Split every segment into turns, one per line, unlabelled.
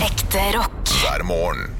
Ekte rock.
hver morgen.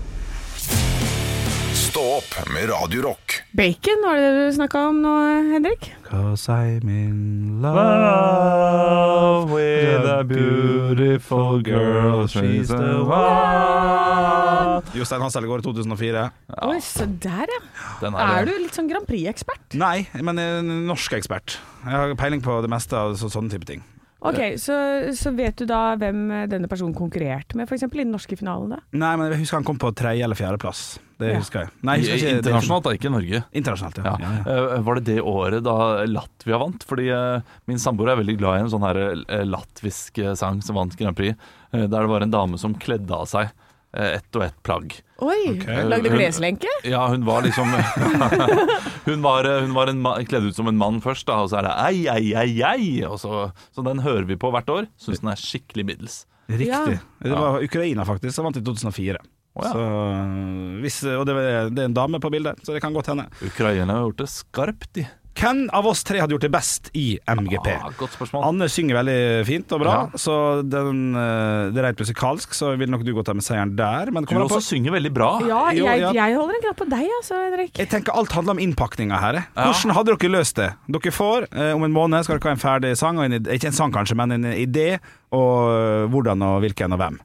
Stå opp med Radio Rock.
Bacon, var det det du snakka om nå, Henrik?
Cause Oh, I'm in love with a beautiful girl. She's the one. Jostein Hans Ellegaard 2004.
Oi, se der, ja.
Den
Er du litt sånn Grand Prix-ekspert?
Nei, men jeg er en norsk ekspert. Jeg har peiling på det meste av så, sånne type ting.
Ok, så, så vet du da hvem denne personen konkurrerte med, f.eks. i den norske finalen? da?
Nei, men jeg husker han kom på tredje eller fjerdeplass. Det
Ja.
husker jeg. Nei, jeg husker ikke-
Internasjonalt, da, ikke i Norge.
Internasjonalt, ja.
Ja.
ja. ja.
Eh, Var det det året da Latvia vant? Fordi eh, min samboer er veldig glad i en sånn her eh, latvisk eh, sang som vant Grand Prix, eh, der det var en dame som kledde av seg eh, ett og ett plagg.
Oi! Lagde kleslenke?
Ja, hun var liksom Hun var, eh, hun var en ma- kledd ut som en mann først, da, og så er det ei, ei, ei, ei. Og så, så den hører vi på hvert år. Syns den er skikkelig middels.
Riktig. Det
Ja.
var Ukraina, faktisk, som vant i 2004.
Å, ja.
så, eh, hvis, og det, var- det er en dame på bildet, så det kan godt hende.
Ukraina har gjort det skarpt, de.
Hvem av oss tre hadde gjort det best i MGP?
Ah, godt spørsmål.
Anne synger veldig fint og bra,
Ja.
så den, eh, det er rent musikalsk, så vil nok du gå til med seieren der. Men
Du
kommer an
også
på
synger veldig bra.
Ja,
Jo,
jeg,
ja.
jeg holder en knapp på deg, altså, Henrik.
jeg tenker alt handler om innpakninga her. eh. Hvordan hadde dere løst det? Dere får, eh, om en måned skal dere ha en ferdig sang, og en, id- ikke en sang kanskje, men en idé, og eh, hvordan og hvilken og hvem.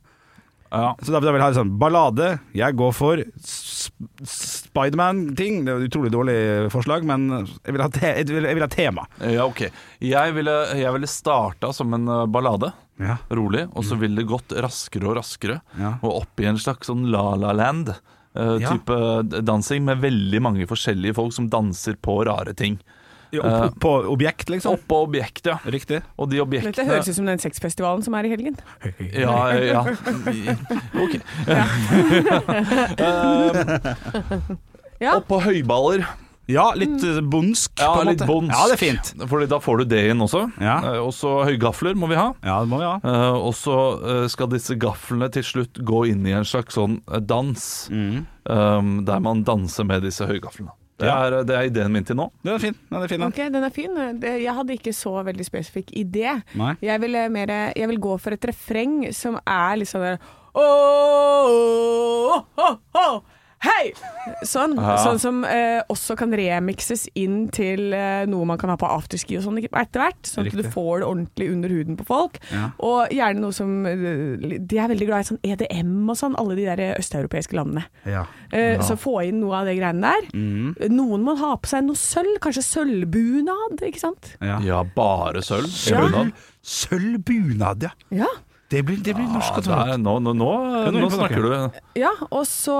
Ja.
Så da, da vil jeg ha en sånn ballade. Jeg går for s- s- Spiderman-ting. Det er et utrolig dårlig forslag, men jeg vil ha, te jeg vil, jeg vil ha tema.
Ja, ok. Jeg ville, jeg ville starta som en eh, ballade,
Ja.
rolig, og så ville det gått raskere og raskere,
Mm. Ja.
og opp i en slags sånn la-la-land.
Ja.
eh, Type dansing med veldig mange forskjellige folk som danser på rare ting. Eh.
Opp, opp på objekt, liksom.
Oppå objekt, ja.
Riktig.
Og de
Dette
objektene
høres ut som den sexfestivalen som er i helgen.
Ja, eh, ja. Ok.
Ja.
Oppå høyballer.
Ja, litt eh, bondsk,
Ja,
på en
litt
måte.
bondsk.
Ja, det er fint.
Fordi da får du det inn også.
Ja.
Eh, Og så høygafler må vi ha.
Ja, det må vi ha.
Eh, og så eh, skal disse gaflene til slutt gå inn i en slags sånn eh, dans, eh, der man danser med disse høygaflene. Det
Ja.
er, det er ideen min til nå.
Den er fin. Den er fin den.
Ok, den er fin. Det- Jeg hadde ikke så veldig spesifikk idé.
Nei.
Jeg vil, mer, jeg vil gå for et refreng som er litt sånn der «Åh, åh, åh, åh, Hei! Sånn,
Ja.
sånn som eh, også kan remixes inn til eh, noe man kan ha på afterski og sånn etter hvert. Sånn at du
Riktig.
får det ordentlig under huden på folk.
Ja.
Og gjerne noe som eh, De er veldig glad i sånn EDM og sånn, alle de der eh, østeuropeiske landene.
Ja. Mhm.
Eh, Så få inn noe av de greiene der. Noen må ha på seg noe sølv, kanskje sølvbunad, ikke sant?
Ja.
Ja, bare sølv.
Ja.
Bunad.
Sølvbunad, ja.
Ja.
Det blir, det blir norsk
Ja,
og tråd.
der, nå, nå, nå,
er noe
nå
på
snakker du
ja og, så,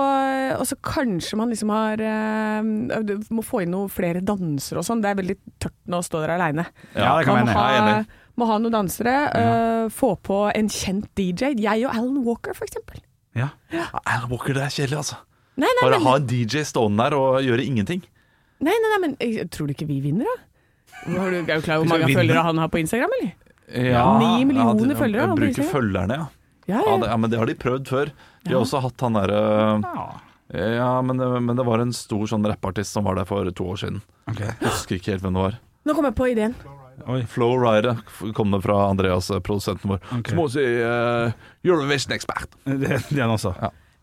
og så kanskje man liksom har eh, Du må få inn noe flere dansere og sånn. Det er veldig tørt nå å stå der aleine.
Ja, det kan
Man må
jeg mene.
ha,
Jeg er enig.
må ha noen dansere. eh, få på en kjent DJ. Jeg og Alan Walker, for eksempel.
Ja.
Alan Walker, det er kjedelig, altså.
Nei, nei,
Bare
men,
ha en DJ stående der og gjøre ingenting.
nei, nei, nei, men eh, tror du ikke vi vinner, da? Har du, er du klar over hvor
Skal vi
mange
vinne?
følgere han har på Instagram, eller?
Ja,
Ni millioner
de-
følgere, da, på
Bruke
Instagram.
følgerne, ja.
Ja,
Ja,
ja.
det, ja, men det har de prøvd før. De har også hatt han derre Ja, men, men det var en stor sånn rappartist som var der for to år siden.
Ok.
Jeg Husker ikke helt hvem det var.
Nå kom jeg på ideen.
Flow Rider kom det fra Andreas, produsenten vår.
Ok.
Som også er eh, Eurovision-ekspert.
Det, den også.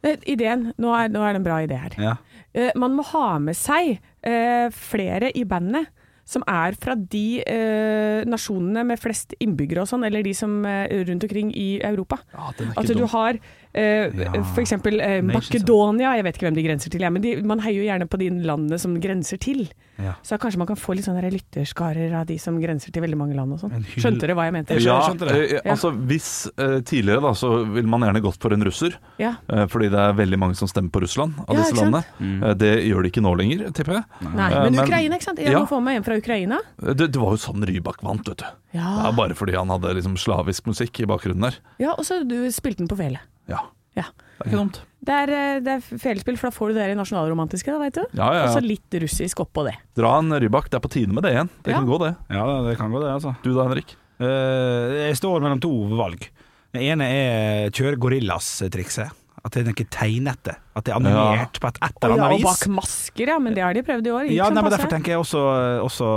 Eh, Ideen. Nå er, nå er det en bra idé her.
Ja.
Eh, man må ha med seg eh, flere i bandet som er fra de eh, nasjonene med flest innbyggere og sånn, eller de som eh, rundt omkring i Europa.
Ja, den er
At
ikke
du
dum.
har eh,
Ja.
for eksempel eh,
Nations, ja.
Makedonia, jeg vet ikke hvem de grenser til, ja, men de, man heier jo gjerne på de landene som grenser til.
Ja.
Så kanskje man kan få litt sånne der lytterskarer av de som grenser til veldig mange land og sånn.
En hyll-
Skjønte dere hva jeg mente?
Ja,
skjønte det.
eh, altså hvis eh, tidligere da, så ville man gjerne gått for en russer.
Ja.
eh, fordi det er veldig mange som stemmer på Russland av
Ja,
disse
ikke sant?
landene. Eh, det gjør de ikke nå lenger, tipper jeg.
Nei,
Eh,
men
men-
Ukraina, ikke sant? Jeg
Ja.
må få med en fra Ukraina.
Det, det var jo sånn Rybak vant, vet du.
Ja.
Det er bare fordi han hadde liksom slavisk musikk i bakgrunnen der.
Ja, og så du spilte den på fele.
Ja,
Ja.
det er ikke dumt.
Det er, eh, det er felespill, for da får du det der nasjonalromantiske, da, veit du.
Ja, ja, ja.
Og så litt russisk oppå det.
Dra en Rybak, det er på tide med det igjen. Det
Ja.
kan gå, det.
ja, det kan gå det, altså.
Du da, Henrik?
Eh, jeg står mellom to valg. Den ene er kjøre gorillas-trikset. At det er noe tegnete. At det er animert på et et
Og,
eller
ja,
annet
og bak
vis.
masker, ja, men det har de prøvd i år. Gikk
Ja,
sånn
nei, men
passe.
Derfor tenker jeg også, også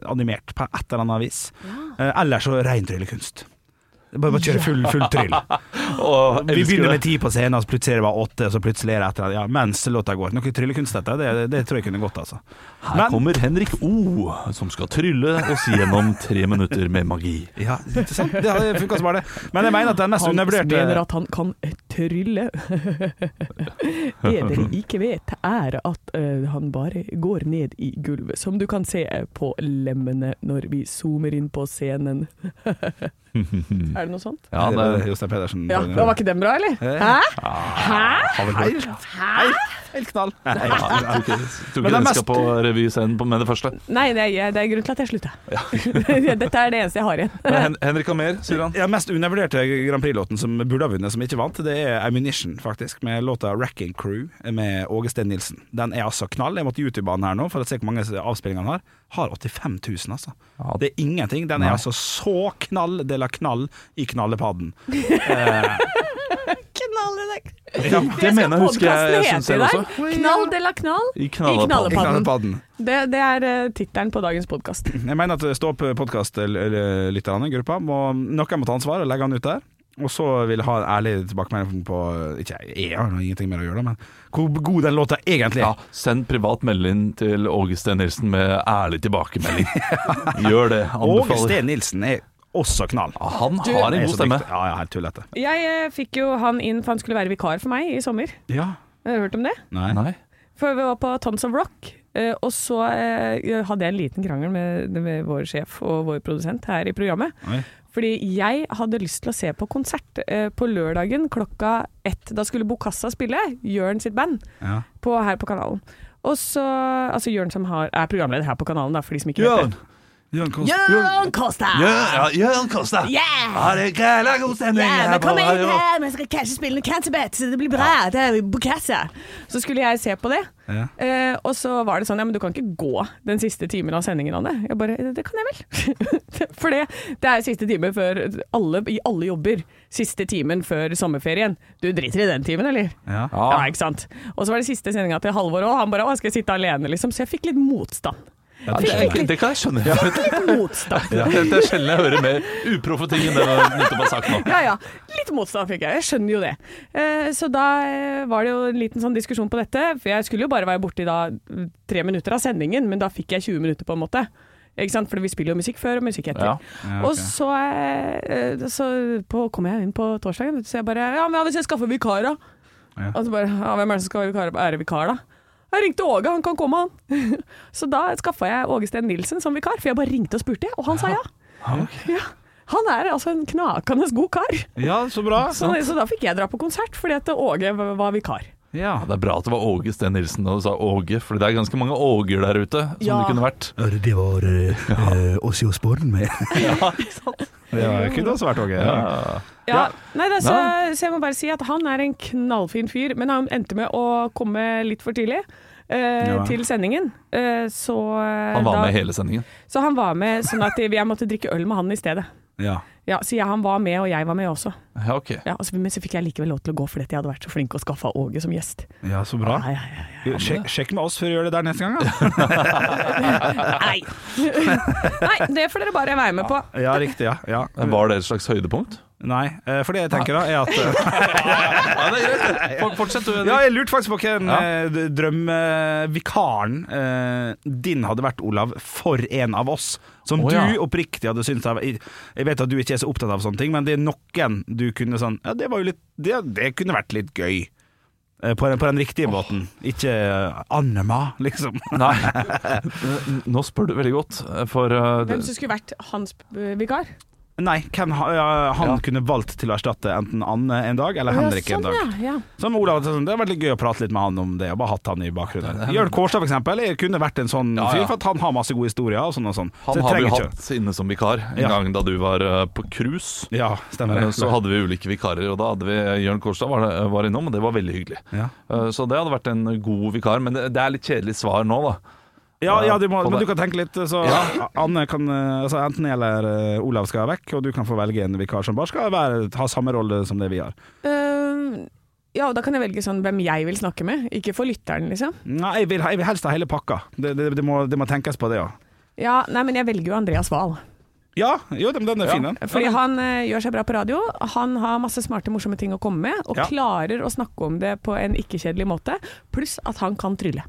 eh, animert på et eller annet vis. Eh, Eller så rein tryllekunst. Bare, bare kjøre full, full tryll.
Og
Vi
elsker
begynner med
det.
ti på scenen, og så plutselig er det bare åtte, og så plutselig er det et eller annet. Ja, mens låta går. Noe tryllekunst, dette. Det, det tror jeg kunne gått, altså.
Her kommer Henrik O, som skal trylle oss gjennom tre minutter med magi.
Ja, interessant. Det hadde funka som bare det. Men jeg mener at den mest
Han mener
undervurderte
at han kan eh, trylle. det dere ikke vet, er at eh, han bare går ned i gulvet, som du kan se eh, på lemmene når vi zoomer inn på scenen. er det noe sånt?
Ja, det er
Jostein Pedersen.
Ja, da Var ikke den bra, eller?
Eh.
Hæ?
Ah.
Hæ?
helt, helt, helt knall.
ja, jeg tror ikke, jeg
Men
tror ikke
det er
den
mest-
skal på revyscenen på- med det første.
Nei, det er, det er grunnen til at jeg slutta. Dette er det eneste jeg har igjen.
Men Hen Henrik har mer, sier han.
Ja, mest undervurderte Grand Prix-låten som burde ha vunnet, som ikke vant, det er Ammunition, faktisk, med låta 'Wrecking Crew' med Åge Steen Nilsen. Den er altså knall. Jeg måtte YouTube-banen her nå for å se hvor mange avspillinger han har. Har 85 000, altså.
Ja.
Det er ingenting. Den er
Nei.
altså så knall de la knall i knallepadden. Eh,
Knall i deg.
Ja, det mener jeg husker jeg, jeg syns selv også.
Knall de la knall
I
i
knallepadden.
knallepadden. Det, det er eh, tittelen på dagens podkast.
Jeg mener at Stå opp-podkast-lytterne, gruppa, må, noen må ta ansvar og legge han ut der. Og så vil jeg ha en ærlig tilbakemelding på Ikke jeg har nå ingenting mer å gjøre, da, men hvor god den låta egentlig er.
Ja, send privat melding til Åge Steen Nilsen med ærlig tilbakemelding. Gjør det.
Åge
Anbefaler.
Steen Nilsen er også knall.
Ja, Han har
Han er
en
så
god stemme.
dyktig. Ja, ja, helt tullete.
Jeg eh, fikk jo han inn, for han skulle være vikar for meg i sommer.
Ja.
Har du hørt om det?
Nei.
Nei.
For vi var på Tons of Rock, eh, og så eh, hadde jeg en liten krangel med, med vår sjef og vår produsent her i programmet.
Oi.
Fordi jeg hadde lyst til å se på konsert eh, på lørdagen klokka ett. Da skulle Bokassa spille, Jørn sitt band,
Ja.
på, her på kanalen. Og så, altså Jørn som har, er programleder her på kanalen, da, for de som ikke vet
Jørn!
det.
Jørn Kost-
Jørn Kosta!
Jørn, Jørn Kosta!
Yeah!
Har det gæla god stemning her på radio?
vi skal kanskje spille noe Canterbet, så det blir bra. Det er Bokassa. Så skulle jeg se på det.
Ja.
Eh, og så var det sånn, ja, men du kan ikke gå den siste timen av sendingen, Anne. Jeg bare, det kan jeg vel. For det, det er siste time før alle, i alle jobber. Siste timen før sommerferien. Du driter i den timen, eller?
Ja.
Ja.
Ja, ikke sant. Og så var det siste sendinga til Halvor òg. Han bare, å, skal jeg sitte alene, liksom? Så jeg fikk litt motstand.
Ja, det, er- det kan jeg skjønne.
Litt motstand.
Ja, Det det er sjelden jeg hører mer uproffe ting enn det du nettopp har sagt nå.
Ja ja, litt motstand fikk jeg. Jeg skjønner jo det. Eh, så da eh, var det jo en liten sånn diskusjon på dette. For jeg skulle jo bare være borte i da mm, tre minutter av sendingen, men da fikk jeg 20 minutter, på en måte. Ikke sant? For vi spiller jo musikk før og musikk etter.
Ja.
Ja, ok.
Og så, eh, eh, så på, kom jeg inn på torsdagen, vet du, så jeg bare Ja, men ja, hvis jeg skaffer vikar, da?
Ja.
Og så bare Ja, hvem er det som skal være vikar, være vikar da? Jeg ringte Åge, han kan komme, han. så da skaffa jeg Åge Steen Nilsen som vikar, for jeg bare ringte og spurte, og han sa ja.
Ah,
ja. Han er altså en knakende god kar.
ja, så bra.
Så, så da fikk jeg dra på konsert, fordi at Åge v- var vikar.
Ja.
Ja, Det er bra at det var Åge Steen Nilsen da du sa Åge, for det er ganske mange Åger der ute som
Ja.
det kunne vært.
Det var uh, oss i Osborne med.
Det var- kunne også vært Åge. Ja.
Ja.
Ja, nei, da, så,
Ja.
så jeg må bare si at han er en knallfin fyr, men han endte med å komme litt for tidlig. eh,
Ja.
Til sendingen. Eh, så, eh,
Han var
da,
med i hele sendingen.
så han var med sånn at jeg måtte drikke øl med han i stedet.
Ja.
Ja, så jeg, han var med, og jeg var med også.
Ja, ok.
Ja, altså, men så fikk jeg likevel lov til å gå fordi at jeg hadde vært så flink og skaffa Åge som gjest.
ja, så bra.
Nei, nei, nei,
Sjekk, sjekk med oss før du gjør det der neste gang, da.
nei. nei, det får dere bare være med på.
Ja, riktig. Ja. ja.
Men Var det et slags høydepunkt?
Nei, eh, for det jeg tenker da, er at eh,
Ja, det er greit. For- Fortsett du,
Ja,
Henrik.
jeg lurte faktisk på hvem
Ja.
eh, d- drømmevikaren eh, din hadde vært, Olav, for en av oss. Som
Å,
du
ja.
oppriktig hadde syntes av- Jeg jeg vet at du ikke er så opptatt av sånne ting, men det er noen du kunne sånn Ja, det var jo litt Det, det kunne vært litt gøy. Eh, På den, på den riktige måten. Ikke eh, Annema, liksom.
Nei. Nå spør du veldig godt, for uh,
Hvem som skulle vært hans eh, vikar?
Nei, hvem ha- ja, han
Ja.
kunne valgt til å erstatte enten Anne en dag eller Henrik
ja,
en dag.
sånn, ja, ja.
Som Olav, hadde sånn, Det hadde vært litt gøy å prate litt med han om det, og bare hatt han i bakgrunnen. Jørn Kårstad for eksempel, jeg kunne vært en sånn
Ja, ja.
fyr, for at han har masse gode historier. og sånn og sånn. så
Han
jeg
har vi
trenger ikke
hatt inne som vikar en
Ja.
gang da du var uh, på cruise.
Ja, stemmer
Uh,
det.
Så hadde vi ulike vikarer, og da hadde vi eh, Jørn Kårstad var, var innom, og det var veldig hyggelig.
ja.
Uh, Så det hadde vært en god vikar, men det det er litt kjedelig svar nå, da.
Ja, ja du må,
På
men du
det.
kan tenke litt, så Anne kan eh, altså, Enten jeg eller eh, Olav skal vekk, og du kan få velge en vikar som bare skal være, ha samme rolle som det vi har.
Eh, ja, og da kan jeg velge sånn hvem jeg vil snakke med, ikke for lytteren, liksom.
Nei, jeg vil, ha- jeg vil helst ha hele pakka. Det, det, det, må, det må tenkes på, det òg.
Ja, nei, men jeg velger jo Andreas Wahl.
Ja, jo, den, den er fin, den.
Fordi han eh, gjør seg bra på radio, han har masse smarte, morsomme ting å komme med, og
Ja.
klarer å snakke om det på en ikke-kjedelig måte, pluss at han kan trylle.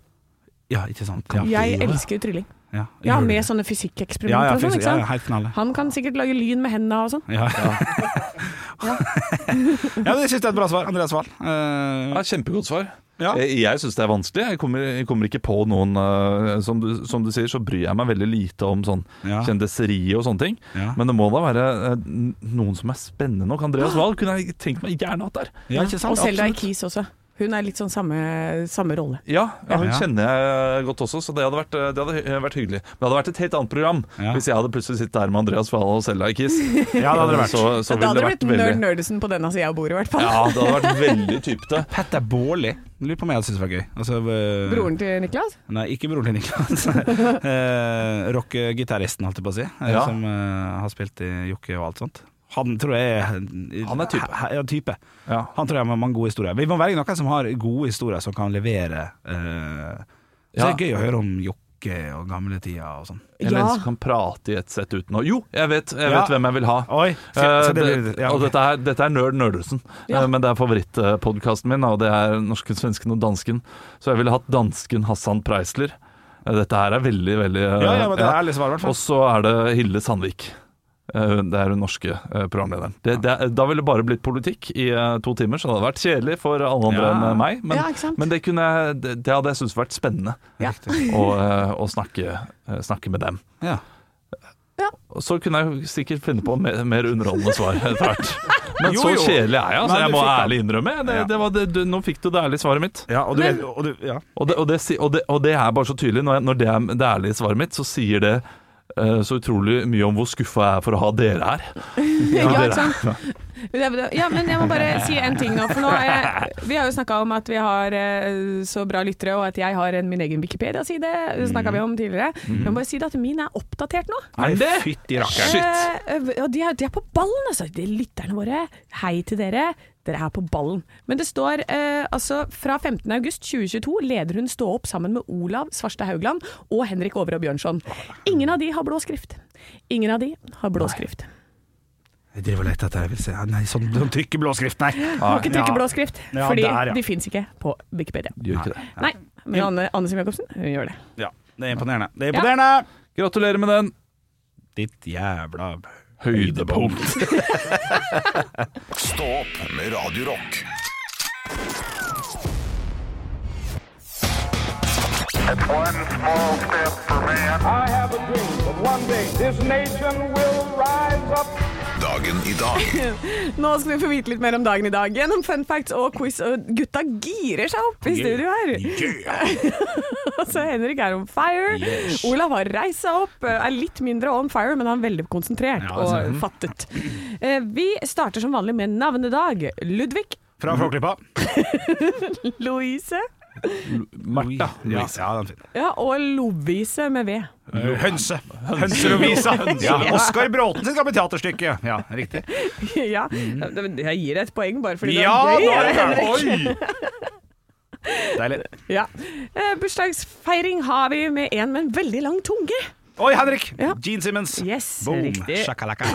Ja, ikke sant. Ja,
Jeg elsker jo trylling.
ja,
Ja,
gjør
med
det.
sånne
ja,
fysikkeksperimenter
ja,
og sånn,
fysi-
ikke
ja,
sant.
ja, helt knallet.
Han kan sikkert lage lyn med hendene og sånn.
Ja, ja. men jeg synes det er et bra svar. Andreas Wahl. Eh,
Ja, kjempegodt svar.
Ja.
Jeg, jeg syns det er vanskelig. Jeg kommer, jeg kommer ikke på noen eh, som, du, som du sier, så bryr jeg meg veldig lite om sånn
Ja.
kjendiseri og sånne ting.
Ja.
Men det må da være eh, n- noen som er spennende nok. Andreas Wahl kunne jeg tenkt meg gjerne hatt der.
ja, ikke sant?
Og Selda
Absolutt.
Keys også. Hun er litt sånn samme, samme rolle.
Ja, ja, hun
Ja.
kjenner jeg godt også, så det hadde vært, eh, det hadde hy- vært hyggelig. Men det hadde vært et helt annet program
Ja.
hvis jeg hadde plutselig sittet der med Andreas Wahl og Selda i Kiss.
Ja, det hadde det vært.
Så,
Men da
så ville
hadde
det
det
vært
blitt Nerd
veldig
Nerdesen på denne sida av bordet, i hvert fall.
Ja, det hadde vært veldig typete.
Petter Baarli. Lurer på om jeg hadde syntes det var gøy. Altså, eh,
Broren til Niklas?
Nei, ikke broren til Niklas. Eh, Rock-gitaristen, holdt jeg på å si. eh,
Ja.
Som eh, har spilt i Jokke og alt sånt. Han tror jeg er
Han er type.
he- he- Ja, type.
Ja.
Han tror jeg har mange gode historier. Vi må velge noen som har gode historier, som kan levere. eh, så
Ja.
det er gøy å høre om Jokke og gamle tider og sånn.
Eller
Ja.
en som kan prate i et sett uten å Jo, jeg vet, jeg
Ja.
vet hvem jeg vil ha.
Oi! Skal,
Eh,
skal det,
det-
bli- ja,
Og
ok.
dette er, dette er Nerd Nerdelsen,
Ja.
Eh, men det er favorittpodkasten min. Og det er norsken, svensken og dansken. Så jeg ville hatt dansken Hassan Preisler. Eh, Dette her er veldig, veldig eh,
ja, ja, men det
ja.
er ærlig svar, i hvert fall.
Og så er det Hilde Sandvik. Eh, Det er hun norske eh, programlederen. Det, det, er- da ville det bare blitt politikk i eh, to timer, så det hadde vært kjedelig for alle andre
Ja.
enn eh, meg. Men,
Ja, ikke sant?
men det, kunne jeg, det, det hadde jeg syntes vært spennende
Ja.
å, eh, å snakke, eh, snakke med dem.
Ja.
Og så kunne jeg jo sikkert finne på mer, mer underholdende svar etter hvert. Men
Jo,
så
jo.
kjedelig er jeg, altså.
Men
jeg
du
må
fikk den.
ærlig innrømme. Det,
Ja.
det var det, du, nå fikk du det ærlige svaret mitt.
Ja, og du, vet- og du, ja.
Og det, og det, si- og det, og det er bare så tydelig. Når, jeg, når det er det ærlige svaret mitt, så sier det eh, så utrolig mye om hvor skuffa jeg er for å ha dere her.
Ja,
dere.
ikke sant? Det er- Ja, men jeg må bare si en ting nå. For nå er jeg, vi har jo snakka om at vi har eh, så bra lyttere, og at jeg har en, min egen Wikipedia-side. Det snakka vi om tidligere. Jeg må bare si det at min er oppdatert nå.
Er det?
Fytti rakkeren.
Shit.
Eh, og de er, de er på ballen, altså. De lytterne våre. Hei til dere. Dere er på ballen. Men det står eh, altså fra 15.8.2022 leder hun Stå opp sammen med Olav Svarstad Haugland og Henrik Overå Bjørnson. Ingen av de har blå skrift. Ingen av de har blå skrift.
Jeg driver og leter etter jeg vil se. Nei, sånn, sånn trykk i blåskrift, nei.
Må ikke trykke
Ah, Ja.
blå skrift,
Ja,
fordi
der, ja.
de fins ikke på Wikipedia.
Gjør ikke det.
Nei, men Anne, Anne Sim Jacobsen hun gjør det.
Ja, det er imponerende. Det er imponerende!
Gratulerer med den.
Ditt jævla
Høydepunkt.
Stå opp med Radio Rock.
One small step for man.
I have a dream that one day this nation will rise up.
Dagen i dag
Nå skal vi få vite litt mer om dagen i dag gjennom fun facts og quiz, og gutta girer seg opp i studio her. Så Henrik er on fire. Olav har reist seg opp, eh, er litt mindre on fire, men han er veldig konsentrert
Ja, altså,
og fattet. Eh, Vi starter som vanlig med navnedag. Ludvig,
Fra Flåklypa.
Louise
Martha.
Ja, ja, den er fin.
ja, og Lovise med V.
Eh, Hønse. Hønserovisa. Ja. Oskar Bråten sitt gamle teaterstykke. Ja, riktig.
Ja, jeg gir deg et poeng bare fordi
Mm. Ja,
det
nå
er
er
gøy.
det der. Oi! Deilig.
Ja. Eh, bursdagsfeiring har vi med en med en veldig lang tunge.
Oi, Henrik.
Ja.
Gene Simmons.
Yes,
Boom.
riktig.
Shakalaka.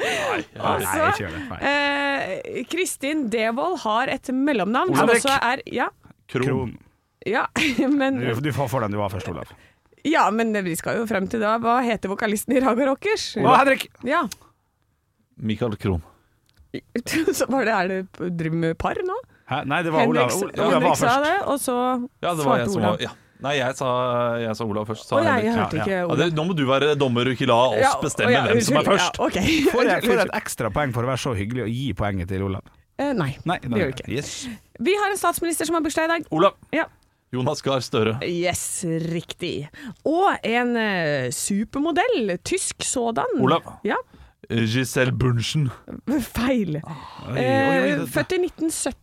Nei,
Altså,
ikke gjør det. Nei.
eh, Kristin Devold har et mellomnavn som
Henrik.
også er Ja,
Kron.
Kron.
ja men,
Du, du får for den du var først, Olav.
ja, men vi skal jo frem til da. Hva heter vokalisten i Raga Rockers?
Å, Henrik.
Ja.
Michael Kron.
Så var det, er det driver med par nå?
Hæ? Nei, det var
Henrik,
Olav. Olav var
Henrik sa
først.
det, og så
Ja, det var
svarte
jeg som
Olav.
var ja. Nei, jeg sa, jeg sa Olav først.
Å,
Sa
nei, jeg
Henrik.
hørte
Ja, ja.
ikke
Ja,
Olav.
det, nå må du være dommer og ikke la oss
Ja,
bestemme
å, ja,
hvem som er
unnskyld.
først.
Ja, ok.
Får jeg, får jeg
Unnskyld.
et ekstra poeng for å være så hyggelig og gi poenget til Olav?
Eh, Nei,
Nei,
det gjør vi ikke.
Yes.
Vi har en statsminister som har bursdag i dag.
Olav.
Ja.
Jonas Gahr Støre.
Yes, riktig. Og en eh, supermodell, tysk sådan.
Olav.
Ja,
Giselle Bunchen.
feil.
Oi, oi, oi,
Eh,
det-
født i 1970,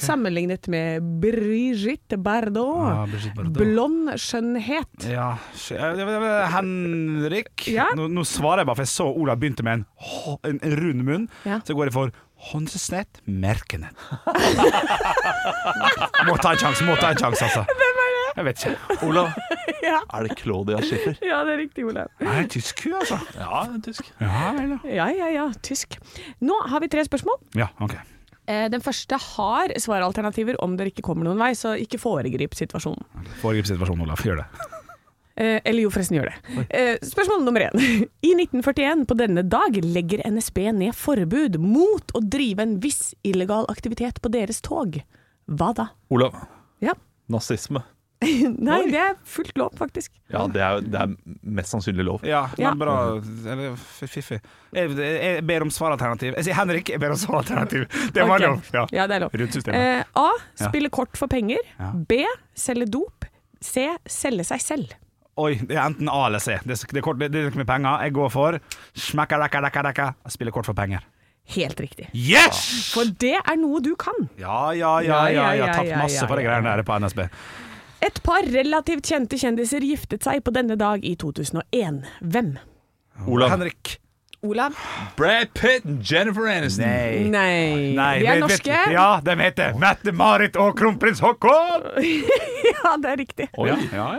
sammenlignet med Brigitte Bardot.
Ah, Brigitte Bardot.
Blond skjønnhet.
Ja, sk- eh, det- det- det- Henrik
Ja?
nå, nå svarer jeg bare, for jeg så Olav begynte med en, h- en en rund munn.
Ja.
Så går jeg for Hansesnett Merkene. må ta en sjanse, må ta en sjanse, altså.
Hvem er det?
Jeg vet ikke.
Olav,
Ja.
er det Claudia Schiffer?
Ja, det er riktig, Olav.
Jeg er tysk, hun, altså.
Ja, en tysk.
Ja, vel, ja.
Ja, ja, ja. Tysk. Nå har vi tre spørsmål.
ja ok.
Eh, Den første har svaralternativer om dere ikke kommer noen vei, så ikke foregrip situasjonen.
Foregrip situasjonen, Olaf. Gjør det.
Eh, eller jo, forresten gjør det. Eh, spørsmål nummer én. I 1941 på denne dag legger NSB ned forbud mot å drive en viss illegal aktivitet på deres tog. Hva da?
Olav,
Ja.
nazisme.
Nei, det er fullt lov, faktisk.
Ja, det er, det er mest sannsynlig lov.
Ja,
Ja.
men bra Eller f- fiffig. Jeg, jeg ber om svaralternativ. Jeg sier Henrik, jeg ber om svaralternativ. Det var
Ok.
lov. Ja.
Ja, det er lov.
Rundt systemet.
Eh, A. Spille kort for penger. B. Selge dop. C. Selge seg selv.
Oi, det er enten A eller C. Det er, det er, kort, det er ikke med penger. Jeg går for smekka, dekka, dekka, dekka. Jeg Spiller kort for penger.
Helt riktig.
Yes!
For det er noe du kan.
Ja, ja, ja.
Ja,
ja,
ja,
Jeg har
ja,
tapt
ja,
masse på
ja,
de
ja.
greiene der på NSB.
Et par relativt kjente kjendiser giftet seg på denne dag i 2001. Hvem?
Olav.
Henrik.
Olav?
Brad Pitt og Jennifer Aniston.
Nei.
Nei.
Nei,
De er
vet- vet-
norske.
Ja, de heter Mette-Marit og kronprins Haakon!
Ja, det er riktig.
Oi.
Det
sånn.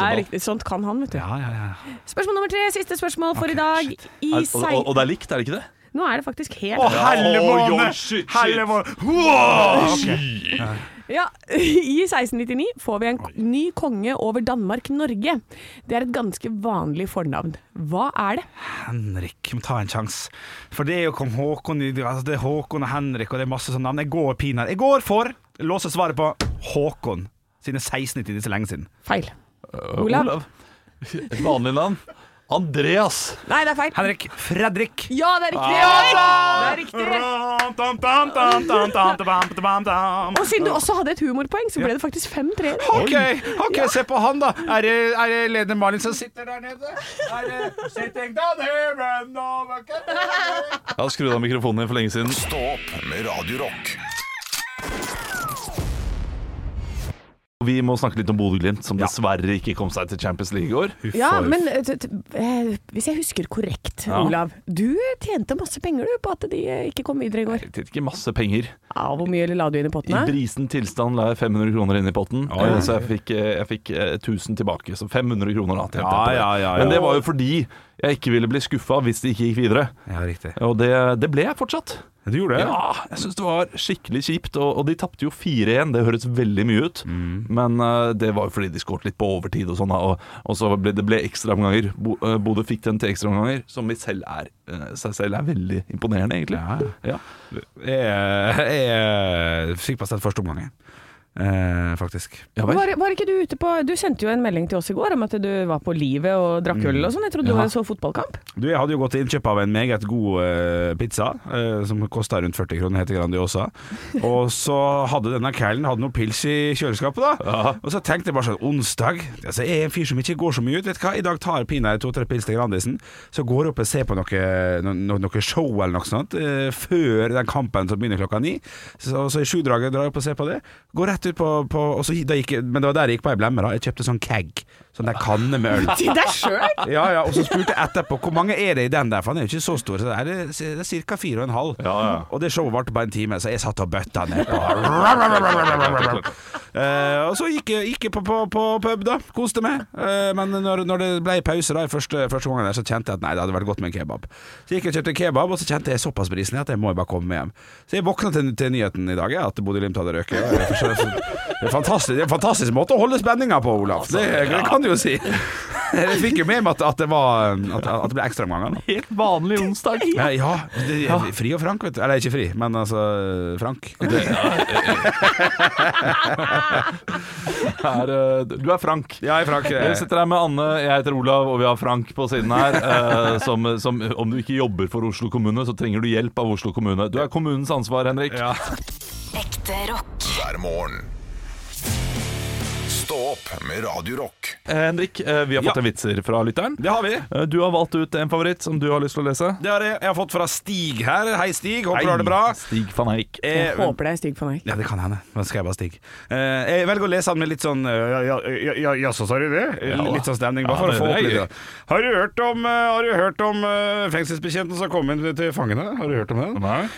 er riktig. Sånt kan han, vet du.
Ja, ja, ja.
Spørsmål nummer tre, siste spørsmål for i dag. I
Er, og, og,
sei...
og det er likt, er det ikke det?
Nå er det faktisk helt
Å,
Oi,
hellemåne!
oi, shit, shit.
Hellemåne! Wow!
Ja, I 1699 får vi en ny konge over Danmark-Norge. Det er et ganske vanlig fornavn. Hva er det?
Henrik, må ta en sjanse. For det er jo kong Håkon i- altså Det er Håkon og Henrik, og det er masse sånne navn. Jeg går pinadø. Jeg går for låse svaret på Håkon. Siden 1690, det er så lenge siden.
Feil.
Eh,
Olav.
Et vanlig navn. Andreas.
Nei, det er feil.
Henrik Fredrik.
Ja, det er riktig!
Ah!
det er riktig. Og siden du også hadde et humorpoeng, så ble det faktisk fem treer.
OK, ok, se på han, da. Er det, er det leder Malin som sitter der nede? Er det sitting down here and over
Jeg har skrudd av mikrofonen din for lenge siden.
Stå opp med Radio Rock.
Vi må snakke litt om Bodø-Glimt, som dessverre ikke kom seg til Champions League i år.
Ja, men eh, t- t- eh, hvis jeg husker korrekt, Olav. Du tjente masse penger du på at de eh, ikke kom videre i går.
Jeg tjente ikke masse penger.
Ja, hvor mye la du inn i
I
potten?
brisen tilstand la jeg 500 kroner inn i potten, eh, så jeg fikk, eh, jeg fikk eh, 1000 tilbake. Så 500 kroner da, tjente jeg
Ja,
på det.
ja, ja, ja.
Men det var jo fordi jeg ikke ville bli skuffa hvis de ikke gikk videre.
Ja, riktig.
Og det, det ble jeg fortsatt.
Du gjorde det?
Ja, jeg syns det var skikkelig kjipt. Og, og de tapte jo 4-1, det høres veldig mye ut.
Mm.
Men eh, det var jo fordi de skåret litt på overtid og sånn, da, og, og så ble det ble ekstraomganger. Bo, eh, Bodø fikk den til ekstraomganger, som i selv er, eh, seg selv er veldig imponerende, egentlig. Ja.
Jeg, jeg fikk bare sett første omgangen, eh, faktisk.
Ja, vel.
Var, var ikke du ute på Du sendte jo en melding til oss i går om at du var på livet og drakk øl og sånn. Jeg trodde du var- så fotballkamp.
Du, jeg hadde jo gått til innkjøp av en meget god eh, pizza, eh, som kosta rundt 40 kroner, heter Grandiosa. Og så hadde denne kælen hadde noe pils i kjøleskapet, da. Og så tenkte jeg bare sånn Onsdag? Altså, jeg er en fyr som ikke går så mye ut, vet du hva. I dag tar jeg pinadø to-tre pils til Grandisen. Så går jeg opp og ser på noe, no, no, noe show eller noe sånt eh, før den kampen som begynner klokka ni. Så, så i sjudraget drar jeg opp og ser på det. Går rett ut på, på og så, da gikk, jeg- Men det var der jeg gikk på ei blemme, da. Jeg kjøpte sånn keg. Sånn der kanne med øl.
Til deg sjøl!
Ja, ja, og så spurte jeg etterpå hvor mange er det i den der, for han er jo ikke så stor. Så det er, det er ca. fire og en halv.
ja.
Og det showet varte bare en time, så jeg satt og bøtta ned på Eh, Og så gikk jeg, gikk jeg på, på, på pub, da. Koste meg. Eh, men når, når det ble pause da, i første, første gangen der, så kjente jeg at nei, det hadde vært godt med en kebab. Så gikk jeg og kjøpte kebab, og så kjente jeg såpass brisen at jeg må jo bare komme hjem. Så jeg våkna til, til nyheten i dag, jeg, at Bodø Glimt hadde røket. Det er for- det er fantastisk- det er en fantastisk måte å holde spenninga på, Olaf. Det, det kan du jo si. Jeg fikk jo med meg at, at det var At, at det ble ekstraomganger.
Helt vanlig onsdag.
Ja, ja det, fri og frank, vet du. Eller ikke fri, men altså frank.
Er, eh, du er Frank.
Ja, i frank.
Vi sitter her med Anne, jeg heter Olav, og vi har Frank på siden her. eh, som, som, om du ikke jobber for Oslo kommune, så trenger du hjelp av Oslo kommune. Du er kommunens ansvar, Henrik.
Ja.
Ekte rock.
hver morgen. Stå opp med Radio Rock.
Eh, Henrik, eh, vi har fått
Ja.
en vitser fra lytteren.
Det har vi.
Eh, Du har valgt ut en favoritt som du har lyst til å lese.
Det har jeg, jeg har fått fra Stig her. Hei, Stig. Håper du har det bra.
Stig van Eijk.
Jeg
Eh,
håper det er Stig van Eijk.
ja, det kan hende. Nå skal jeg bare Stig. Eh, jeg velger å lese han med litt sånn eh, Ja, ja, ja, ja, jaså, sa du det?
Ja, da.
Litt sånn stemning, bare
Ja,
for
det-
å få
det
opp
er
litt. da.
gøy.
Har du hørt om, eh, har du hørt om eh, fengselsbetjenten som kom inn til fangene? Har du hørt om det?
Nei.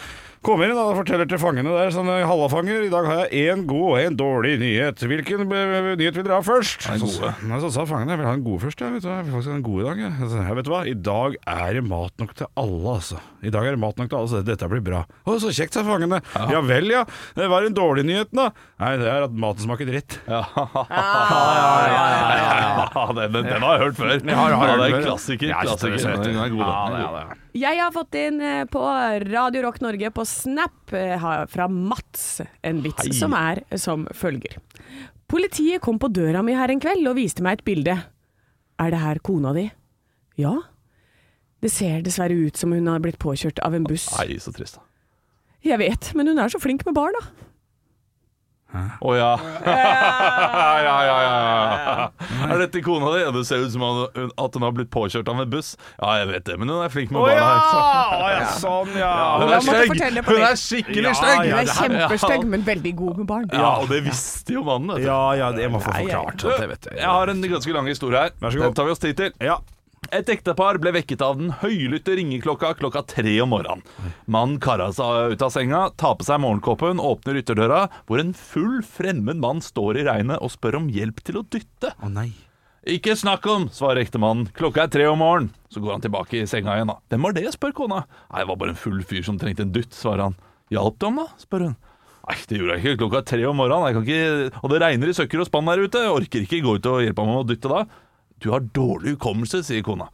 Kom inn da, og forteller til fangene der sånn Halla fanger, i dag har jeg én god og én dårlig nyhet. Hvilken eh, nyhet vil dere ha først?
den
Så-
gode.
Nei, så sa fangene jeg vil ha den gode først. Jeg vet, du hva, jeg vil faktisk ha den gode i dag. Jeg. Så sa jeg, vet du hva, I dag er det mat nok til alle, altså. I dag er det mat nok til alle, så dette blir bra. Å, så kjekt, sa fangene. Ja, vel, ja. Hva er den dårlige nyheten, da? Nei, det er at maten smaker dritt.
Ja, den, den, den har jeg hørt før.
har hørt
det er
før,
en
ja.
klassiker.
Ja, shit,
klassiker.
det er søt.
Den er god, da.
Ja, det er det.
Jeg har fått inn eh, på Radio Rock Norge på Snap eh, ha- fra Mats en vits
Hei.
som er som følger. Politiet kom på døra mi her en kveld og viste meg et bilde. Er det her kona di? Ja. Det ser dessverre ut som hun har blitt påkjørt av en buss.
Nei, så trist. da.
Jeg vet, men hun er så flink med barna.
Å ja. ja, ja, ja, ja. Er dette kona di? Ja, det ser ut som at hun- at hun har blitt påkjørt av en buss. Ja, jeg vet det, men hun er flink med
Å ja!
barna. ikke sant?
Å, ja, sånn, ja.
Hun
jeg
er
måtte
stygg!
fortelle på
Hun
det.
er skikkelig
Ja,
stygg!
ja,
Hun er
det
kjempestygg, men veldig god med barn.
Ja, og det visste jo mannen. Vet du.
Ja, ja, det må få forklart.
Du,
at jeg vet det.
jeg har en ganske lang historie her.
Vær så god.
Den tar vi oss tid til.
Ja.
Et ektepar ble vekket av den høylytte ringeklokka klokka tre om morgenen. Mannen kara seg ut av senga, tar på seg morgenkåpen, åpner ytterdøra, hvor en full fremmed mann står i regnet og spør om hjelp til å dytte.
Å nei.
Ikke snakk om, svarer ektemannen. Klokka er tre om morgenen. Så går han tilbake i senga igjen, da. Hvem var det, spør kona. Nei, det var bare en full fyr som trengte en dytt, svarer han. Hjalp du ham, da? spør hun. Nei, det gjorde jeg ikke. Klokka er tre om morgenen. Jeg kan ikke Og det regner i søkker og spann der ute. Jeg orker ikke gå ut og hjelpe ham med å dytte da. Du har dårlig hukommelse, sier kona.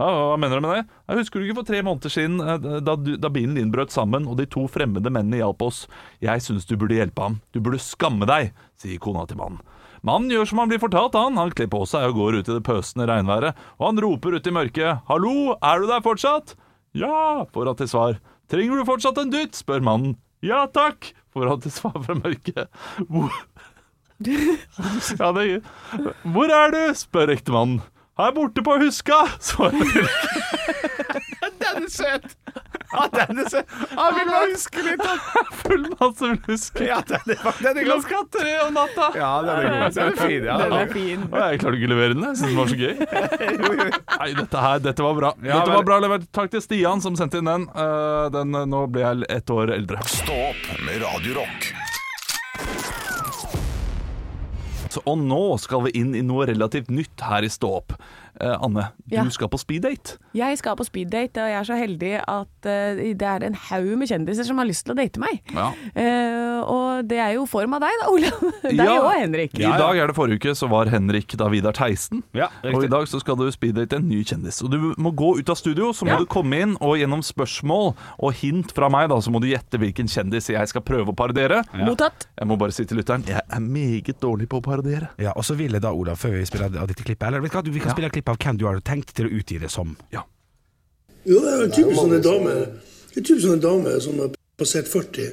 Ja, Hva mener du med det? Jeg husker du ikke for tre måneder siden, eh, da, du- da bilen din brøt sammen og de to fremmede mennene hjalp oss? Jeg syns du burde hjelpe ham. Du burde skamme deg, sier kona til mannen. Mannen gjør som han blir fortalt, han. Han kler på seg og går ut i det pøsende regnværet, og han roper ut i mørket 'Hallo, er du der fortsatt?' 'Ja', får han til svar. 'Trenger du fortsatt en dytt?' spør mannen. 'Ja takk', får han til svar fra mørket. Hvor ja, det Hvor er du? spør ektemannen. Her borte på huska, svarer hun.
Den er søt! Ja, den er søt. Ja, vi må huske litt om
Full masse blusk.
Ja, den er, den er ganske
Klokka tre om natta.
Ja, den er god. Den er fin, ja.
Den er fin.
Og jeg klarte ikke å levere den. Jeg synes den var så gøy. Nei, dette her, dette var bra.
Ja,
dette
vel.
var bra levert. Takk til Stian som sendte inn den. Eh, den eh, nå ble jeg ett år eldre.
Stå opp med Radio Rock.
Så, og nå skal vi inn i noe relativt nytt her i Stå opp. Eh, Anne,
Ja.
du skal på speeddate.
Jeg skal på speeddate, og jeg er så heldig at eh, det er en haug med kjendiser som har lyst til å date meg.
Ja.
Eh, og det er jo form av deg da, Olav. Deg
Ja.
og Henrik.
I dag er det forrige uke, så var Henrik da Vidar Theisen.
Ja,
og
riktig.
i dag så skal du speeddate en ny kjendis. Og du må gå ut av studio, så må
Ja.
du komme inn, og gjennom spørsmål og hint fra meg, da, så må du gjette hvilken kjendis jeg skal prøve å parodiere.
Mottatt.
Jeg må bare si til lytteren, jeg er meget dårlig på å parodiere.
Ja, og så ville da Olav, før vi spiller av dette klippet Eller vet du hva, vi kan spille av klippet av hvem du har tenkt til å utgi det som.
Jo, det er en typisk sånne dame En typisk sånne dame som er passert 40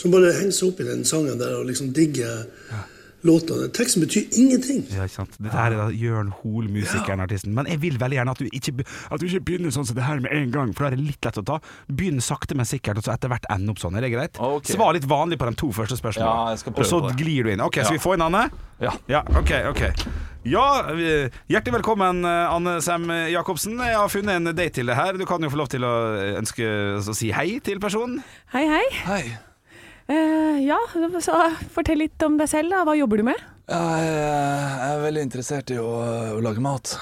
Som bare henger seg opp i den sangen der Og liksom digger låtene Teksten betyr ingenting
Ja, ikke sant? Dette her er da Jørn Hoel, musikeren, artisten. Men jeg vil veldig gjerne at du ikke, be- at du ikke begynner sånn som det her med en gang, for da er det litt lett å ta. Begynn sakte, men sikkert, og så etter hvert ende opp sånn. Er det greit?
Ok.
Svar litt vanlig på de to første spørsmålene.
Ja, jeg skal prøve
og så
på det.
glir du inn. Ok, skal vi få inn Anne?
Ja.
Ja, ok, ok. Ja, vi- hjertelig velkommen, eh, Anne Sem Jacobsen. Jeg har funnet en date til deg her. Du kan jo få lov til å ønske å si hei til personen.
Hei, hei.
Hei,
Eh, ja, så fortell litt om deg selv, da. Hva jobber du med?
jeg er veldig interessert i å, lage mat.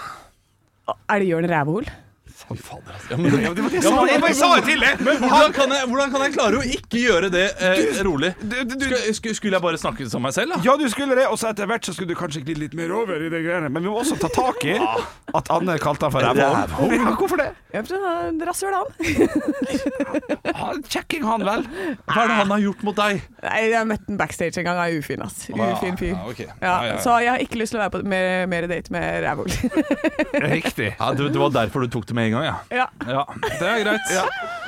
Å, Er det Jørn Rævehol?
Fy fader, altså. Ja, men,
Ja, det var det jeg sa, jeg bare sa det til deg!
hvordan, kan jeg, hvordan kan jeg klare å ikke gjøre det eh, rolig?
du- du-
Skulle, skulle- skulle jeg bare snakke som meg selv, da?
Ja, du skulle det, og så etter hvert så skulle du kanskje glide litt mer over i de greiene. Men vi må også ta tak i at Anne kalte han for rævhål. Ja, hvorfor det?
Ja, for han er Rasshøl, han.
Han- Kjekking han vel.
Hva er det han har gjort mot deg?
Nei, jeg møtte han backstage en gang. Han er ufin, ass.
ja.
Ufin fyr.
Ja, ok.
Ja,
Ja, ja, ja.
Så jeg har ikke lyst til å være på mer, mer date med Rævehol.
Riktig.
Ja, det, det var derfor du tok det med en gang, ja.
ja.
Ja, Det er greit.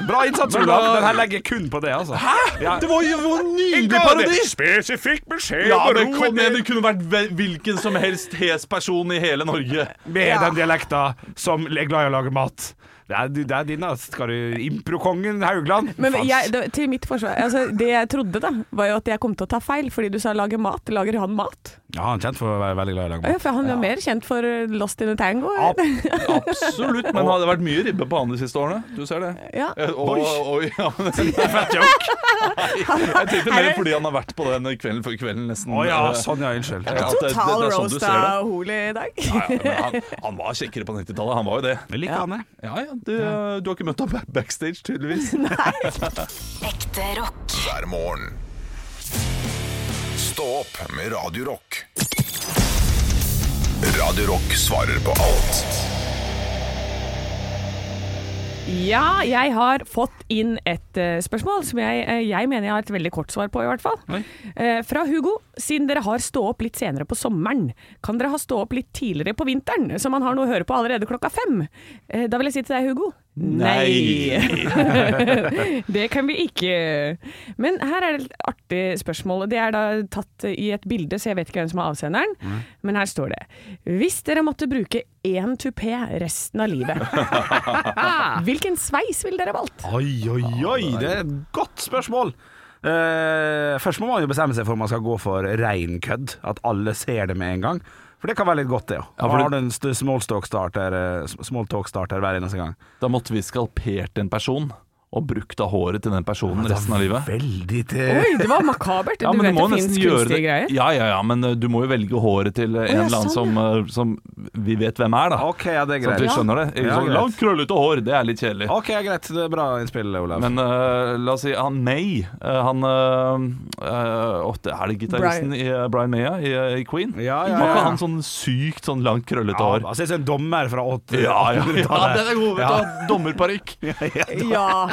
Bra innsats,
Men da-
Olav. Den her legger jeg kun på det, altså. Ja.
Det var jo det var en nydelig
ga det
parodi!
Spesifikk beskjed
Ja,
om å
men
roe
kom
ned
igjen, Det kunne vært ve- hvilken som helst hes person i hele Norge.
med den dialekta som er glad i å lage mat. Det er, det er din, da. Skal du Improkongen Haugland?
Men
Faen.
jeg, det, til mitt forsvar altså, Det jeg trodde, da, var jo at jeg kom til å ta feil, fordi du sa 'lage mat'. Lager han mat?
Ja, han er kjent for å være veldig glad i å lage
Ja,
mat.
for han er mer kjent for eh, Lost in a Tango.
Ab absolutt, men det har vært mye ribbe på han de siste årene. Du ser det.
Ja.
Eh, Og, oi, ja, men det er
Fett joke!
Jeg tenkte mer fordi han har vært på den Kvelden før kvelden, nesten.
Å ja,
Eh,
sånn ja, unnskyld.
Ja, det- det- det er
Total
sånn du
roast
ser det.
av Hole i dag.
Ja, ja, men han, han var kjekkere på 90-tallet, han var jo det.
Jeg liker han, jeg.
Ja, ja, du, du har ikke møtt ham ba- backstage, tydeligvis.
Ekte rock.
hver morgen. Stå opp med Radio Rock. Radio Rock svarer på alt
Ja, jeg har fått inn et eh, spørsmål som jeg, eh, jeg mener jeg har et veldig kort svar på, i hvert fall. Eh, fra Hugo. Siden dere har stå opp litt senere på sommeren, kan dere ha stå opp litt tidligere på vinteren, så man har noe å høre på allerede klokka fem? Eh, da vil jeg si til deg, Hugo. det kan vi ikke. Men her er det et artig spørsmål. Det er da tatt i et bilde, så jeg vet ikke hvem som er avsenderen. Men her står det Hvis dere måtte bruke én tupé resten av livet, hvilken sveis ville dere valgt?
Oi, oi, oi, det er et godt spørsmål! Eh, først må man jo bestemme seg for om man skal gå for rein kødd. At alle ser det med en gang. For det kan være litt godt, det òg.
Ja, for det-
har du en st- small talk starter, eh, sm- small talk starter hver eneste gang.
Da måtte vi skalpert en person, og brukt av håret til den personen resten av livet.
Veldig til
Oi, det var makabert.
Ja,
du
men
vet
må
det
nesten
finnes
gjøre
kunstige greier.
Ja, ja, ja, men eh, du må jo velge håret til eh, en
ja,
eller annen
sånn,
som, eh, som vi vet hvem er, da.
OK, ja, det er
Sånn
greit.
at vi skjønner det. Ikke
Ja,
sånn
greit.
langt, krøllete hår, det er litt kjedelig.
OK, greit. Det er bra innspill, Olav.
Men eh, la oss si han May eh, Han eh, eh, åh, det er det gitaristen i eh, Brian May ja, i, eh, i Queen?
Ja, ja, ja.
Var ikke han sånn sykt sånn langt, krøllete
ja,
hår?
altså, jeg er en dommer fra 80
Ja, ja, ja,
80-tallet.
den er god! Vet du,
Ja.
hva? Dommerparykk.
Ja,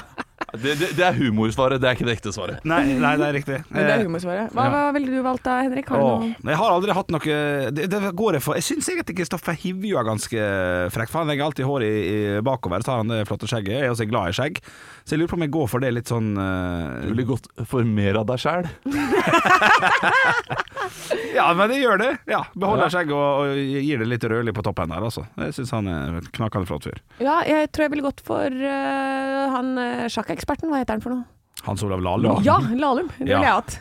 Det, det, det er humorsvaret, det er ikke det ekte svaret.
Nei, nei, det er riktig.
men det er
Eh,
humorsvaret. Hva, hva ville du valgt da, Henrik? Har du
Åh,
noe?
jeg har aldri hatt noe Det, det går jeg for. Jeg syns egentlig Kristoffer Hivju er ganske frekk, for han legger alltid håret i, i bakover, så har han det flotte skjegget. Jeg er også glad i skjegg, så jeg lurer på om jeg går for det litt sånn eh,
Du ville gått for mer av deg sjæl.
Ja, men jeg gjør det. Ja, Beholder skjegget og, og gir det litt rødlig på toppen der, altså. Jeg syns han er en knakende flott fyr.
Ja, jeg tror jeg ville gått for eh, han eh, sjakkeksperten, hva heter han for noe?
Hans Olav Lahlum.
Ja, Lahlum. Det
Ja.
ville jeg hatt.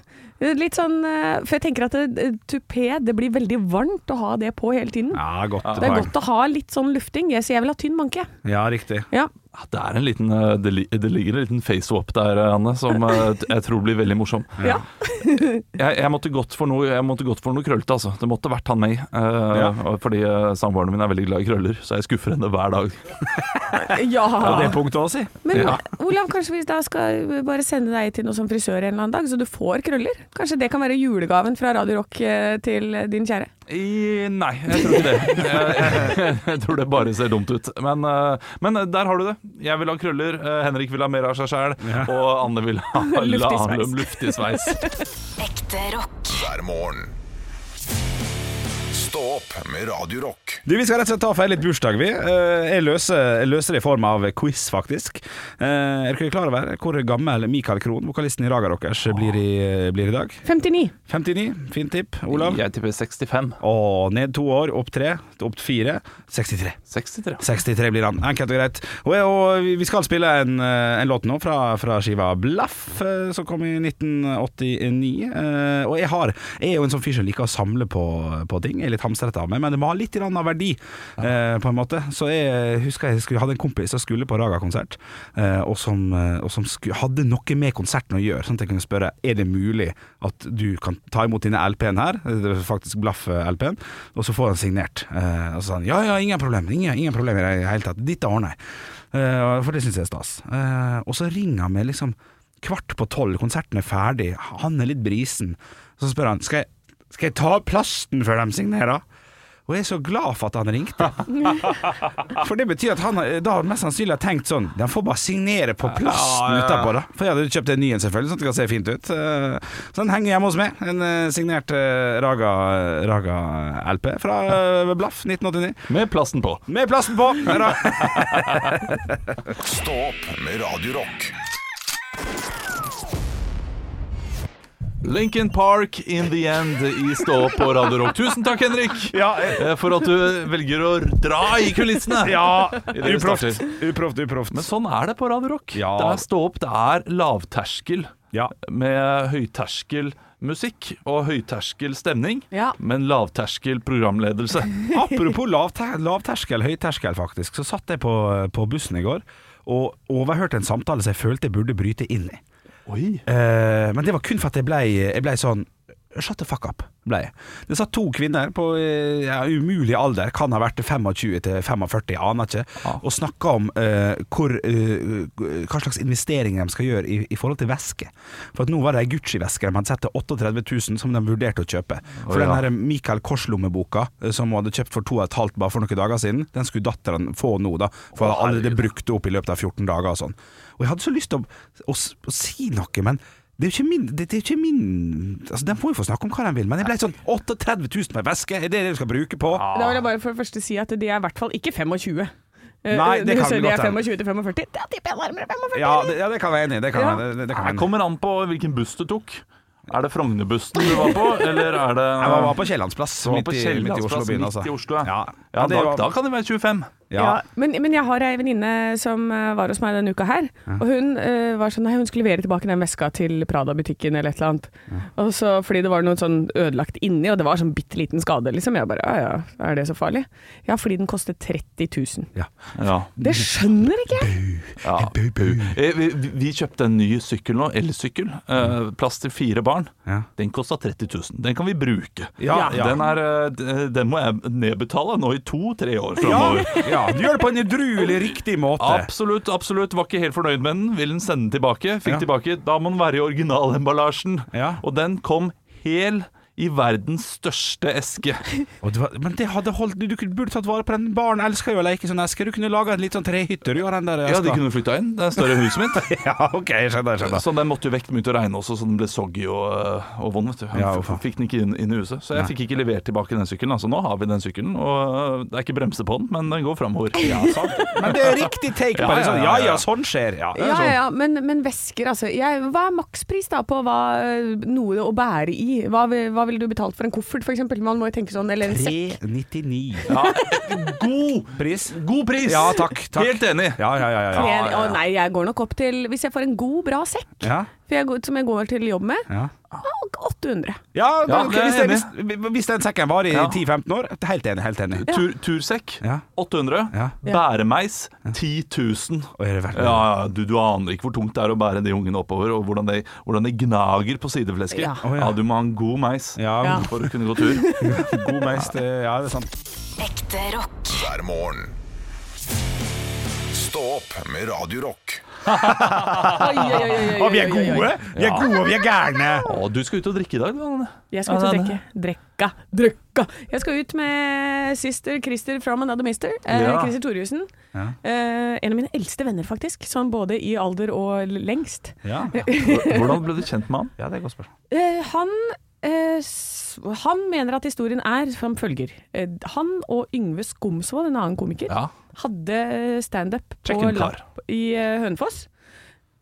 Litt sånn, eh, for jeg tenker at eh, tupé, det blir veldig varmt å ha det på hele tiden.
Ja, godt
Det er
poeng.
godt å ha litt sånn lufting. Jeg, så jeg vil ha tynn manke.
Ja, riktig.
Ja.
Det, er en liten, eh, det, li- det ligger en liten face-up der, eh, Anne, som eh, jeg tror blir veldig morsom.
Ja.
Jeg, jeg måtte gått for noe, jeg måtte gått for noe krøllete, altså. Det måtte vært han May. eh, og Fordi eh, samboeren min er veldig glad i krøller, så jeg skuffer henne hver dag.
Ja, det
ja.
er punktet òg, si.
Men
Ja.
Olav, kanskje vi da skal eh, bare sende deg til noe som frisør en eller annen dag, så du får krøller? Kanskje det kan være julegaven fra Radio Rock eh, til din kjære?
I, nei, jeg tror ikke det. Jeg, jeg, jeg tror det bare ser dumt ut. Men, eh, men der har du det. Jeg vil ha krøller, eh, Henrik vil ha mer av seg sjæl, og Anne vil ha
Luftig
la-
sveis.
luftig sveis.
Ekte rock.
hver morgen. Stå opp med Radio Rock.
Du, Vi skal rett og slett ta feil litt bursdag, vi. Eh, Jeg løser, jeg løser det i form av quiz, faktisk. Eh, Er dere klar over hvor gammel Mikael Krohn, vokalisten i Raga Rockers, blir i, blir i dag?
59.
59, fint tipp. Olav?
Jeg tipper 65.
Og ned to år, opp tre, opp fire. 63.
63.
63 blir han. Enkelt og greit. Og, og vi skal spille en, eh, en låt nå fra, fra skiva Blaff, eh, som kom i 1989. Eh, Og jeg, har, jeg er jo en sånn fyr som liker å samle på, på ting. Jeg er litt hamstrete av meg, men det må ha litt grann av verdi, eh, på en måte. Så jeg husker jeg skulle, hadde en kompis som skulle på Raga-konsert, eh, og som, eh, og som sku, hadde noe med konserten å gjøre. Sånn at jeg kunne spørre er det mulig at du kan ta imot denne LP-en her, det er faktisk Blaff-LP-en, og så får han signert. Eh, og så sa han ja, ja, ingen problem, ingen, ingen problem i det hele tatt, dette ordner jeg. Eh, for det syns jeg er stas. Eh, og så ringer han meg liksom kvart på tolv, konserten er ferdig, han er litt brisen. Så spør han skal jeg, skal jeg ta plasten før de signerer. Og jeg er så glad for at han ringte. For det betyr at han har- da har mest sannsynlig har tenkt sånn Den får bare signere på plasten utapå, da. For jeg hadde kjøpt en ny en, selvfølgelig, sånn at det kan se fint ut. Eh, Så den henger hjemme hos meg. En eh, signert eh, Raga, Raga LP fra eh, Blaff 1989.
Med plasten på.
Med plasten på! Ra-
Stå opp med Radio Rock
Lincoln Park in the end i Stå opp på Radio Rock. Tusen takk, Henrik,
Ja, eh,
eh, for at du velger å dra i kulissene.
ja
det vi
uproft.
starter.
Uproft, uproft.
Men sånn er det på Radio Rock.
Ja.
Det er Stå opp, det er lavterskel.
Ja.
med høyterskel musikk og høyterskel stemning,
Ja.
men lavterskel programledelse.
Apropos lav, te lav terskel, høy terskel faktisk, så satt jeg på, eh, på bussen i går og overhørte en samtale som jeg følte jeg burde bryte inn i.
Oi.
Eh, men det var kun for at jeg blei jeg ble sånn Shut the fuck up, blei jeg. Det satt to kvinner på eh, ja, umulig alder, kan ha vært 25 til 45, jeg aner ikke, og snakka om eh, hvor, eh, hva slags investeringer de skal gjøre i, i forhold til væske. For at nå var det ei Gucci-veske de hadde sett til 38 000 som de vurderte å kjøpe. For
Å, ja.
den her Michael Kors-lommeboka eh, som hun hadde kjøpt for to og et halvt bare for noen dager siden, den skulle datteren få nå, da. For hun hadde allerede brukt det opp i løpet av 14 dager og sånn. Og jeg hadde så lyst til å, å, s- å si noe, men det er jo ikke min, det, det er jo ikke min altså, De får jo få snakke om hva de vil, men jeg ble sånn 38 000 på ei veske, er det det du skal bruke på?
Da vil jeg bare for det første si at de er i hvert fall ikke 25. Eh,
Nei,
du
det kan
ser
det
de er
godt hende.
25 til 45. Da tipper jeg nærmere 45.
Ja, det, ja, det kan jeg være enig i. Det kan
Ja.
jeg- det, det kan
Det
jeg være enig i.
kommer an på hvilken buss du tok. Er det Frognerbussen du var på, eller er det
Jeg var- var på Kiellandsplass,
Du var
midt,
på
i- midt i Oslo
Kiellandsplass,
byen.
midt
Altså.
i Oslo, ja.
Ja,
Ja,
det
da,
var-
da kan det være 25.
ja.
Ja, men, men jeg har ei venninne som eh, var hos meg denne uka her. Og hun eh, var sånn Nei, hun skulle levere tilbake den veska til Prada-butikken eller et eller annet. Og så, fordi det var noe sånn ødelagt inni, og det var sånn bitte liten skade, liksom. Jeg bare ja ja, er det så farlig? Ja, fordi den kostet 30 000.
Ja.
Ja.
Det skjønner ikke jeg!
Ja. Eh, Vi, vi- vi kjøpte en ny sykkel nå, elsykkel. Eh, plass til fire barn.
Ja.
Den kosta 30 000. Den kan vi bruke.
Ja, ja.
Den, er, eh, d- den må jeg nedbetale nå i to-tre år framover.
ja, du gjør det på en edruelig riktig måte.
Absolutt, absolutt. Var ikke helt fornøyd med den. Vil den sende den tilbake?
Ja.
Fikk tilbake. Da må den være i originalemballasjen.
Ja.
Og den kom hel i verdens største eske.
Og det var, men det hadde holdt Du, du kunne- burde tatt vare på den. Barn elsker jo å leke i sånne esker. Du kunne laga en litt sånn trehytte, du, av den der
Ja,
eska.
de kunne flytta inn. Det er større enn huset mitt.
ja, ok, jeg skjønner. jeg skjønner
Så den måtte jo vekk, den begynte å regne også, så den ble soggy og, eh, og vond. vet du Han
Ja,
f-
faen.
fikk den ikke inn, inn i huset. Så jeg fikk ikke levert tilbake den sykkelen. Altså, nå har vi den sykkelen, og eh, det er ikke bremse på den, men den går framover. Ja,
Men det er riktig take på
Ja,
det.
ja,
Sånn,
ja,
ja
ja.
ja, sånn skjer, ja.
Ja, ja, ja, men, men vesker, altså. Jeg, hva er makspris da på hva, eh, noe å bære i? Hva, vil- hva ville du betalt for en koffert, f.eks.? Man må jo tenke sånn, eller en sekk.
399
God
pris.
God pris!
Ja, takk. takk.
Helt enig.
Ja, ja, ja. ja, ja.
Tre- Å nei, jeg går nok opp til Hvis jeg får en god, bra sekk,
Ja.
for jeg går, som jeg går til jobb med, ah,
Ja.
å, 800.
Ja,
Ja,
ok,
det er
hvis, det, hvis,
jeg
hvis den sekken varer i
Ja.
10-15 år Helt enig. helt enig
Tur, tursekk
Ja.
800.
Ja.
Bæremeis 10 000.
Og er det verdt det?
Ja, ja, du, du aner ikke hvor tungt det er å bære de ungene oppover, og hvordan de, hvordan de gnager på sideflesket.
Ja.
Ja.
Å, ja.
du må ha en god meis
Ja.
for å kunne gå tur.
God meist, eh, ja, det er sant.
Ekte rock.
hver morgen. Stå opp med Radio Rock.
Oi, oi, oi, oi, oi,
Å, Ah, vi
oi,
er
oi, oi.
gode! Vi er gode, og vi er gærne!
Å, du skal ut og drikke i dag, du, Anne.
Jeg skal ut og
Ja,
drikke. Drekka, drekka. Jeg skal ut med sister Christer from Another Mister. Eh,
Ja.
Christer Thorjussen. Eh, en av mine eldste venner, faktisk. Sånn både i alder og l- lengst.
Ja,
Hvordan ble du kjent med han?
ja det er et godt spørsmål.
Eh, han eh, s- han mener at historien er som følger. Eh, han og Yngve Skomsvold, en annen komiker,
Ja.
hadde eh, standup på
Kjekken kar.
Lapp i eh, Hønefoss.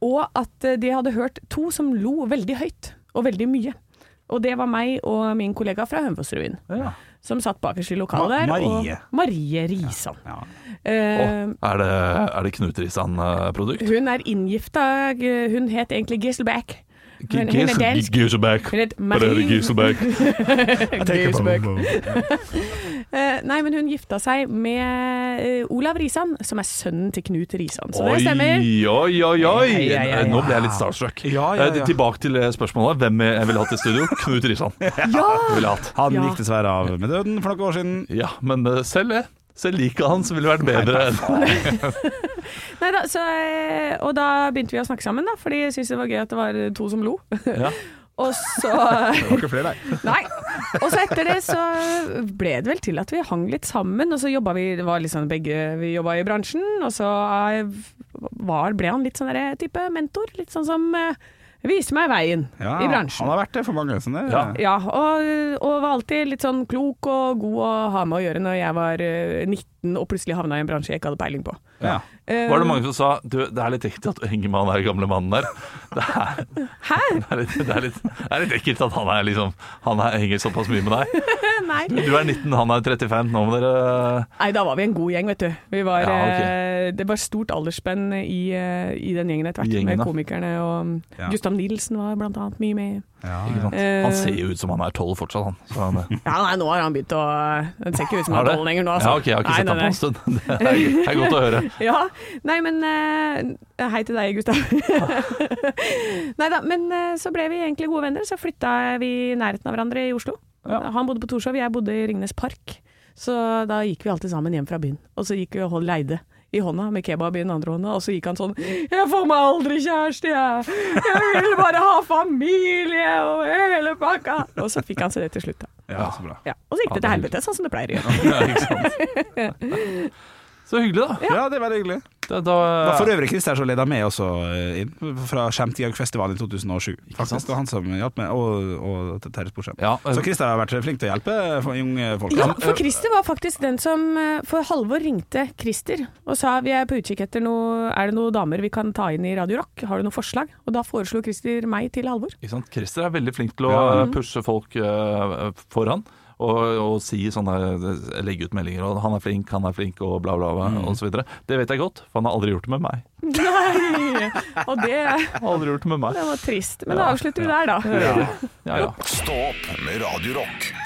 Og at eh, de hadde hørt to som lo veldig høyt, og veldig mye. Og det var meg og min kollega fra Hønefossrevyen.
Ja.
som satt bakerst i lokalet der.
Ma-
og-
Marie.
Marie Risan.
Ja.
Eh,
Er det, er det Knut Risan-produkt?
hun er inngifta, eh, hun het egentlig Giselback. Hun, hun er dansk.
Giselback.
Hun het Marie Giselback. Eh, nei, men hun gifta seg med eh, Olav Risan, som er sønnen til Knut Risan. Så det stemmer.
Oi, oi, oi, oi!
Hei, hei, hei,
Nå ble jeg litt starstruck.
Ja, ja, ja.
Eh, Tilbake til det spørsmålet. Hvem eh, jeg ville hatt i studio? Knut Risan.
Ja!
Ville jeg hatt.
Han
Ja.
gikk dessverre av med døden for noen år siden.
Ja, men eh, selv det. Selv liket hans ville vært bedre enn
Nei da, så, eh, og da begynte vi å snakke sammen, da, fordi jeg syntes det var gøy at det var to som lo.
ja.
Og så
Det var ikke flere, nei.
Nei. Og så etter det så ble det vel til at vi hang litt sammen, og så jobba vi det var litt sånn begge vi jobba i bransjen, og så eh, var, ble han litt sånn derre type mentor, litt sånn som eh, viser meg veien
Ja,
i bransjen.
Han har vært det for mange. Sånn det.
Ja.
Ja, og, og var alltid litt sånn klok og god å ha med å gjøre når jeg var eh, 19 og plutselig havna i en bransje jeg ikke hadde peiling på.
Ja.
Var det mange som sa du, det er litt ekkelt at du henger med han der gamle mannen der? Det er,
Hæ?
det er, litt, det er, litt, det er litt ekkelt at han, er liksom, han er, henger såpass mye med deg.
Nei.
Du er 19, han er 35. Nå må dere
Nei, da var vi en god gjeng, vet du. Vi var,
Ja, ok.
eh, det var stort aldersspenn i, eh, i den gjengen etter hvert,
Gjengen,
med
da.
komikerne. Og
Ja.
Gustav Nilsen var blant annet mye med.
ikke sant?
Eh.
Han ser jo ut som han er 12 fortsatt, han. Så han er-
Ja, nei, nå har han begynt å Den ser ikke ut som
Er
han
det?
er tolv lenger nå, altså.
Ja, ok, jeg har ikke
Nei,
sett
nei,
ham på en
nei.
stund. Det er, det er godt å høre.
Ja. Nei, men eh, Hei til deg, Gustav. nei da, men eh, så ble vi egentlig gode venner. Så flytta vi i nærheten av hverandre i Oslo.
Ja.
Han bodde på Torshov, jeg bodde i Ringnes Park. Så da gikk vi alltid sammen hjem fra byen. Og så gikk vi og holdt leide i hånda med kebab i den andre hånda, og så gikk han sånn 'Jeg får meg aldri kjæreste, jeg. Jeg vil bare ha familie og hele pakka.' Og så fikk han seg det til slutt, da.
Ja, så bra.
Ja. Og så gikk det til helvete, sånn som det pleier å gjøre.
Ja, ikke sant? Så hyggelig, da.
Ja, det er veldig hyggelig.
Da,
Det var for
da
øvrig Christer som leda med også eh, inn, fra Skjemtiaugfestivalen i 2007. Faktisk, det var han som hjalp meg, og, og Terje Sporsem.
Ja, eh,
Så Christer har vært flink til å hjelpe for unge folk.
Ja, for Christer var faktisk den som eh, For Halvor ringte Christer og sa vi er på utkikk etter noe Er det noen damer vi kan ta inn i Radio Rock? Har du noen forslag? Og da foreslo Christer meg til Halvor.
ikke sant? Christer er veldig flink til å
Ja.
eh, pushe folk eh, foran. Og, og si sånne, eh, legge ut meldinger og 'han er flink, han er flink' og bla, bla, bla og så videre. Det vet jeg godt, for han har aldri gjort det med meg.
Nei! Og det,
Aldri gjort det med meg.
det var trist. Men da avslutter vi der, da.
Ja, ja.
Stå opp med Radio Rock.